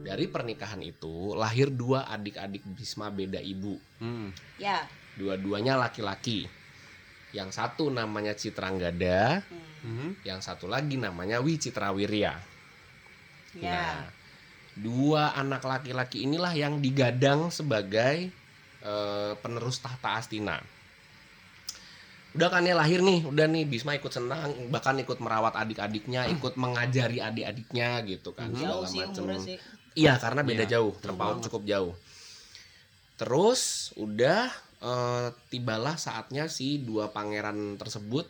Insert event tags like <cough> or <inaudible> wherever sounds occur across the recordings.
dari pernikahan itu lahir dua adik-adik Bisma beda ibu. Hmm. Ya. Dua-duanya laki-laki. Yang satu namanya Citranggada, Hmm. Mhm. yang satu lagi namanya Wicitrawirya. Nah, Ya. dua anak laki-laki inilah yang digadang sebagai eh, penerus tahta Astina. Udah kan ya lahir nih, udah nih Bisma ikut senang, bahkan ikut merawat adik-adiknya, ikut mengajari adik-adiknya gitu kan. Mhm. Jauh segala sih macem. umurnya sih. Iya, karena beda Iya, jauh, terpaut banget. cukup jauh. Terus udah eh, tibalah saatnya si dua pangeran tersebut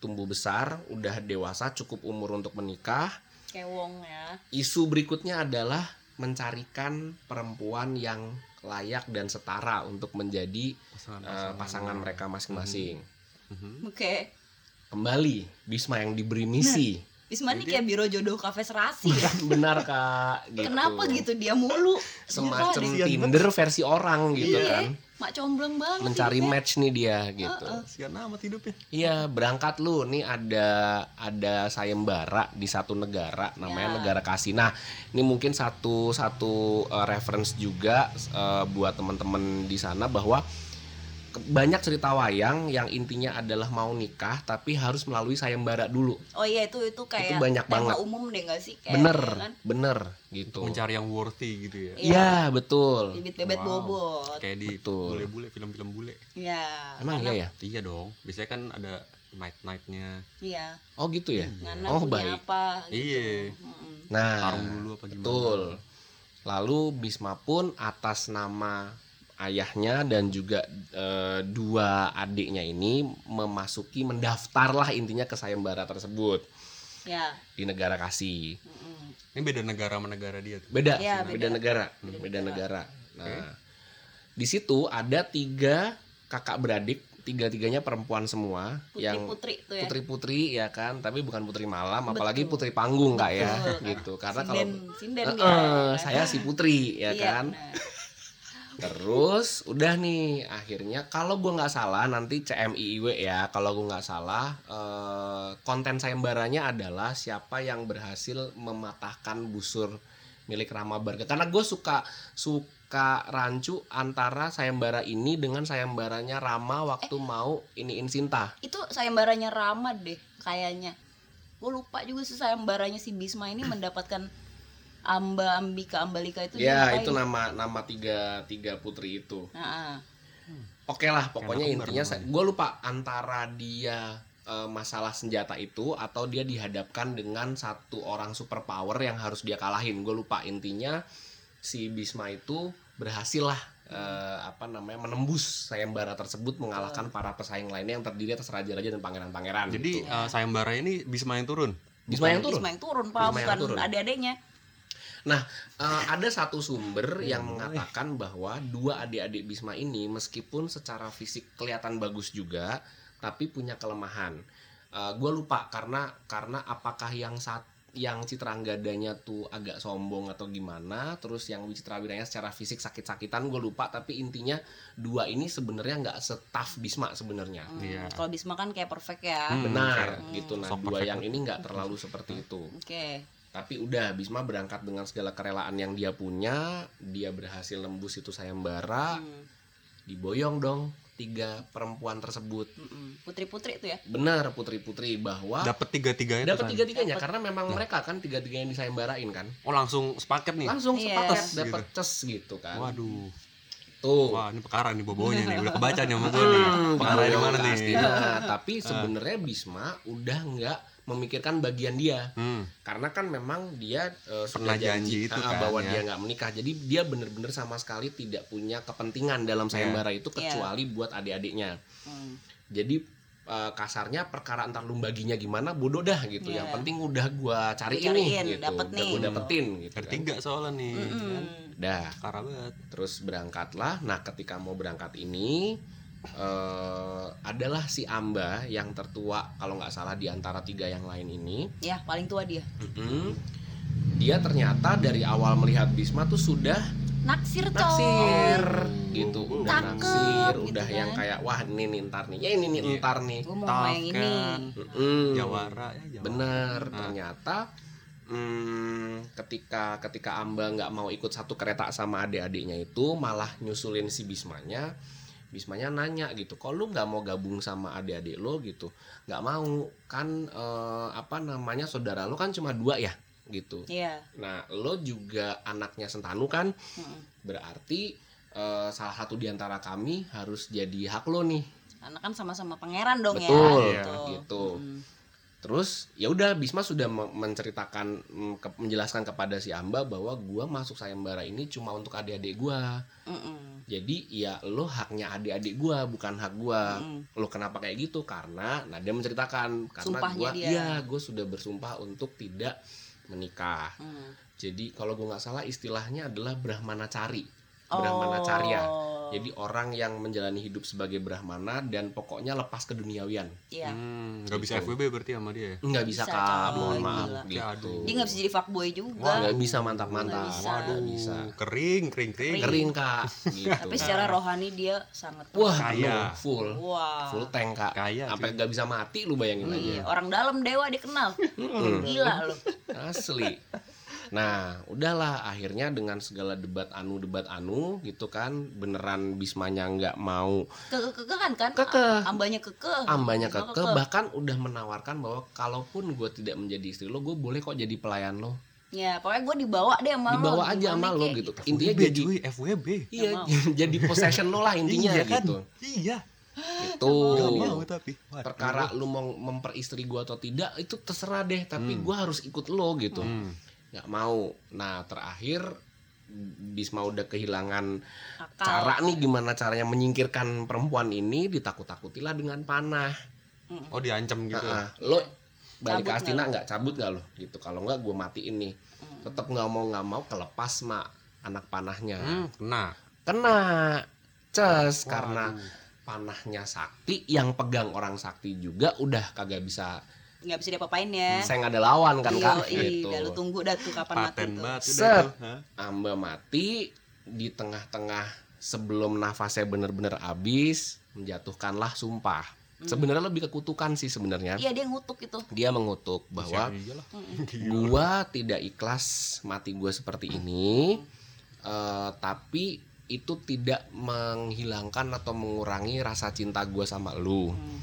tumbuh besar, udah dewasa, cukup umur untuk menikah Kayak Wong ya. isu berikutnya adalah mencarikan perempuan yang layak dan setara untuk menjadi eh, Pasangan-pasangan. pasangan mereka masing-masing. Mhm. Oke. Kembali Bisma yang diberi misi. Bisma ini Jadi- Gitu. kayak biro jodoh kafe serasi ya. Benar Kak, gitu. Kenapa gitu dia mulu? Semacam Kasihan banget. Tinder versi orang gitu Iya. kan. Mak combleng banget. Mencari hidupnya. match nih dia gitu. Uh-uh. Sian amat hidupnya. Iya, berangkat lu. Nih ada ada sayembara di satu negara namanya Ya. negara kasih. Nah, ini mungkin satu satu eh, reference juga eh, buat teman-teman di sana bahwa ke- banyak cerita wayang yang intinya adalah mau nikah tapi harus melalui sayembara dulu. Oh iya itu itu kayak banyak tema banget. umum deh gak sih? Kayak, Bener, ya kan? bener gitu. Mencari yang worthy gitu ya. Iya. Iya, betul. Bibit bebet Wow. bobot. Kayak di Betul. bule-bule, film-film bule. Iya. Emang iya Karena- ya? Iya dong. Biasanya kan ada night-nightnya. Iya. Oh, gitu ya. Ngana Oh, punya baik. apa? Gitu. Iya. Mm-mm. Nah, Tarung dulu apa gimana? Betul. Lalu Bisma pun atas nama ayahnya dan juga eh, dua adiknya ini memasuki mendaftarlah intinya ke sayembara tersebut Ya. di negara kasih. Mm-mm. Ini beda negara sama negara dia tuh. Beda, Iya, beda. beda. negara, Hmm, Beda beda negara. Nah, Oke. di situ ada tiga kakak beradik, tiga-tiganya perempuan semua Putri yang putri tuh ya. putri-putri ya kan, tapi bukan putri malam, apalagi Betul. putri panggung kak ya, Betul. gitu. Karena kalau sinden, sinden Eh, dia, eh, kan? saya si putri ya Iya, kan. benar. Terus udah nih akhirnya kalau gue nggak salah nanti CMIIW ya kalau gue nggak salah eh, konten sayembaranya adalah siapa yang berhasil mematahkan busur milik Rama Barga karena gue suka suka rancu antara sayembara ini dengan sayembaranya Rama waktu Eh. mau iniin Sinta itu sayembaranya Rama deh kayaknya gue lupa juga sih sayembaranya si Bisma <clears throat> ini mendapatkan Amba Ambika Ambalika itu ya diapain? itu nama nama tiga tiga putri itu Nah, ah. Oke lah, pokoknya Karena kembar intinya namanya. gue lupa antara dia eh, masalah senjata itu atau dia dihadapkan dengan satu orang superpower yang harus dia kalahin. Gue lupa intinya si Bisma itu berhasil lah eh, apa namanya menembus sayembara tersebut mengalahkan para pesaing lainnya yang terdiri atas raja-raja dan pangeran-pangeran. Hmm. Jadi gitu. eh, sayembara ini bisa main turun. Bisma yang turun. Bisma yang turun pak Bisma yang bukan turun. adik-adiknya Eh, ada satu sumber Iya, yang mengatakan bahwa dua adik-adik Bisma ini meskipun secara fisik kelihatan bagus juga, tapi punya kelemahan. gue lupa karena karena apakah yang saat yang Citranggadanya tuh agak sombong atau gimana, terus yang Wicitrawiranya secara fisik sakit-sakitan gue lupa, tapi intinya dua ini sebenarnya nggak setaf Bisma sebenarnya. Hmm, Iya. kalau Bisma kan kayak perfect ya Hmm, Benar kayak- gitu. Nah Sok dua perfect. yang ini nggak terlalu seperti itu. oke Tapi udah Bisma berangkat dengan segala kerelaan yang dia punya, dia berhasil nembus itu sayembara, Hmm, diboyong dong tiga perempuan tersebut. mm-mm. hmm, putri-putri itu ya Benar putri-putri bahwa Dapat tiga-tiganya tuh, dapat San. tiga-tiganya Dapet. karena memang Nah. mereka kan tiga-tiganya yang disayembarain kan. Oh langsung sepaket nih. Langsung Iya. sepaket Tes dapat ces gitu kan. Waduh. Tuh. Wah, ini perkara nih bobonya <laughs> nih. Udah kebaca nih sama gue nih. Hmm, Perkara di mana diboyong nih? Ah. ke Astina. tapi sebenarnya Bisma udah nggak memikirkan bagian dia. Hmm. karena kan memang dia eh, Pernah janji itu ah, kan, bahwa ya. dia nggak menikah jadi dia bener-bener sama sekali tidak punya kepentingan dalam sayembara itu Iya. kecuali buat adik-adiknya Hmm, jadi eh, kasarnya perkara antar lu baginya gimana bodoh dah gitu Iya. yang penting udah gua cari Gua cariin, ini gitu dapet udah nih, gua gitu. dapetin gitu Ada kan. tiga soalnya nih. mm-mm. Kan? dah Perkara banget. terus berangkatlah nah ketika mau berangkat ini eh, adalah si Amba yang tertua kalau nggak salah di antara tiga yang lain ini ya paling tua dia Mm-mm. Dia ternyata dari awal melihat Bisma tuh sudah naksir coy naksir Coy. gitu, udah Cakep, naksir, gitu udah kan. yang kayak wah ini nih ntar nih, ya ini nih Iya. ntar nih, gue mau Tough main ini kan. Mm-mm. Jawara ya, Jawara. bener Nah. ternyata Hmm, ketika ketika Amba nggak mau ikut satu kereta sama adik-adiknya itu malah nyusulin si Bismanya Bismanya nanya gitu kok lu nggak mau gabung sama adik-adik lo gitu nggak mau kan eh, apa namanya saudara lo kan cuma dua ya gitu Iya. nah lo juga anaknya Sentanu kan Mm-mm. berarti eh, salah satu di antara kami harus jadi hak lo nih Karena kan sama-sama pangeran dong Betul, ya. gitu. gitu. Mm. Terus ya udah Bisma sudah me- menceritakan mm, ke- menjelaskan kepada si Amba bahwa gua masuk sayembara ini cuma untuk adik-adik gua. Mm-mm. Jadi ya lo haknya adik-adik gua bukan hak gua. Mm-mm. Lo kenapa kayak gitu? Karena nah dia menceritakan karena Sumpahnya gua dia. iya gua sudah bersumpah untuk tidak menikah. Mm. Jadi kalau gua nggak salah istilahnya adalah brahmanacari. Brahmanacharya. Oh. Jadi orang yang menjalani hidup sebagai brahmana dan pokoknya lepas keduniawian. Iya. Hmm, nggak bisa Gitu. FWB berarti sama dia ya? Nggak bisa, Kak, Bisa, Kak. mohon Gila. maaf gitu. Aduh. Dia nggak bisa jadi fuckboy juga. Wah, nggak bisa mantap-mantap. Nggak bisa. Waduh, Waduh, bisa. kering, kering, kering. Kering. Kering kak. Gitu. <laughs> Tapi secara rohani dia sangat wah Kaya. penuh, full, Wah. full tank kak. Kaya. cuy. Sampai nggak bisa mati lu bayangin aja. Hmm. Iya, orang dalam dewa dikenal. Mm-mm. Gila loh. Asli. Nah, udahlah akhirnya dengan segala debat anu debat anu gitu kan, beneran Bismanya nggak mau Keke-kekehan kan? Kekeh. Ambanya kekeh. ambanya Bisma keke, bahkan udah menawarkan bahwa kalaupun gue tidak menjadi istri lo, gue boleh kok jadi pelayan lo, Ya, pokoknya gue dibawa deh sama lo, dibawa aja gimana sama lo kek. gitu. FWB, Intinya jadi, cuy, FWB. iya, <laughs> Nggak jadi possession lo lah intinya iya kan? gitu. Iya. Itu. Nggak mau tapi. Waduh. perkara lu mau memperistri gua atau tidak itu terserah deh tapi Hmm. gua harus ikut lo gitu Hmm. nggak mau nah terakhir Bisma udah kehilangan Akal. cara nih gimana caranya menyingkirkan perempuan ini ditakut-takutilah dengan panah Mm-mm. Oh diancam gitu. Nah, lo balik ke Cabut Astina nggak nggak cabut nggak lo gitu kalau nggak gua matiin nih Mm. tetap nggak mau nggak mau kelepas mak anak panahnya Hmm, kena. kena ces karena Waduh. panahnya sakti yang pegang orang sakti juga udah kagak bisa nggak bisa diapa-apain ya. saya nggak ada lawan kan kak Yoi, gitu dah lu tunggu dah tuh kapan mati paten tuh. banget Set. udah tuh. Hah? amba mati di tengah-tengah sebelum nafasnya bener-bener habis menjatuhkanlah sumpah Hmm. sebenarnya lebih kekutukan sih sebenarnya Iya dia ngutuk gitu. dia mengutuk bahwa Gitu. Siapa <laughs> iyalah. Mm-mm. gua tidak ikhlas mati gua seperti ini eh, tapi itu tidak menghilangkan atau mengurangi rasa cinta gua sama lu Mm.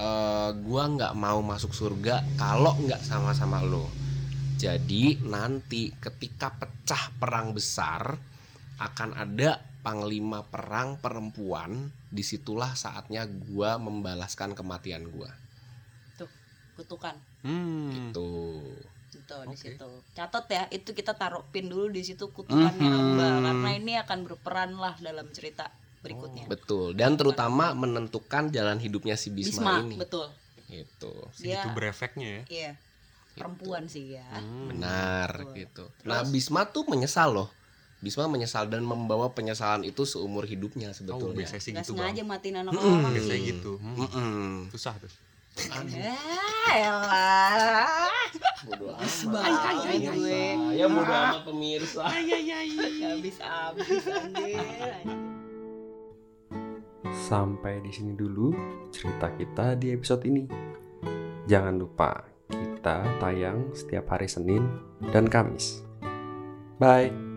eh gua nggak mau masuk surga kalau nggak sama-sama lo. Jadi nanti ketika pecah perang besar akan ada panglima perang perempuan. Disitulah saatnya gua membalaskan kematian gua. Kutukan Hmm. Gitu. gitu di Oke. situ. Catat ya, itu kita taruh pin dulu di situ kutukannya Hmm. Amba Mhm. karena ini akan berperan lah dalam cerita berikutnya. Betul. Dan terutama menentukan jalan hidupnya si Bisma, Bisma, ini. betul. Gitu. Segitu Dia- berefeknya ya. Iya, perempuan sih ya. Hmm. Benar Betul. gitu. Nah, Bisma tuh menyesal loh. Bisma menyesal dan membawa penyesalan itu seumur hidupnya Oh, sebetulnya. biasanya sih Gak gitu, Bang. sengaja matiin anak Mm-mm. orang. Biasanya gitu. Hmm. Mm-mm. Susah tuh. Ya elah. Bodoh amat. Males banget gue. Ya bodoh amat pemirsa. Habis-habis anjir. Sampai di sini dulu cerita kita di episode ini. Jangan lupa, kita tayang setiap hari Senin dan Kamis. Bye.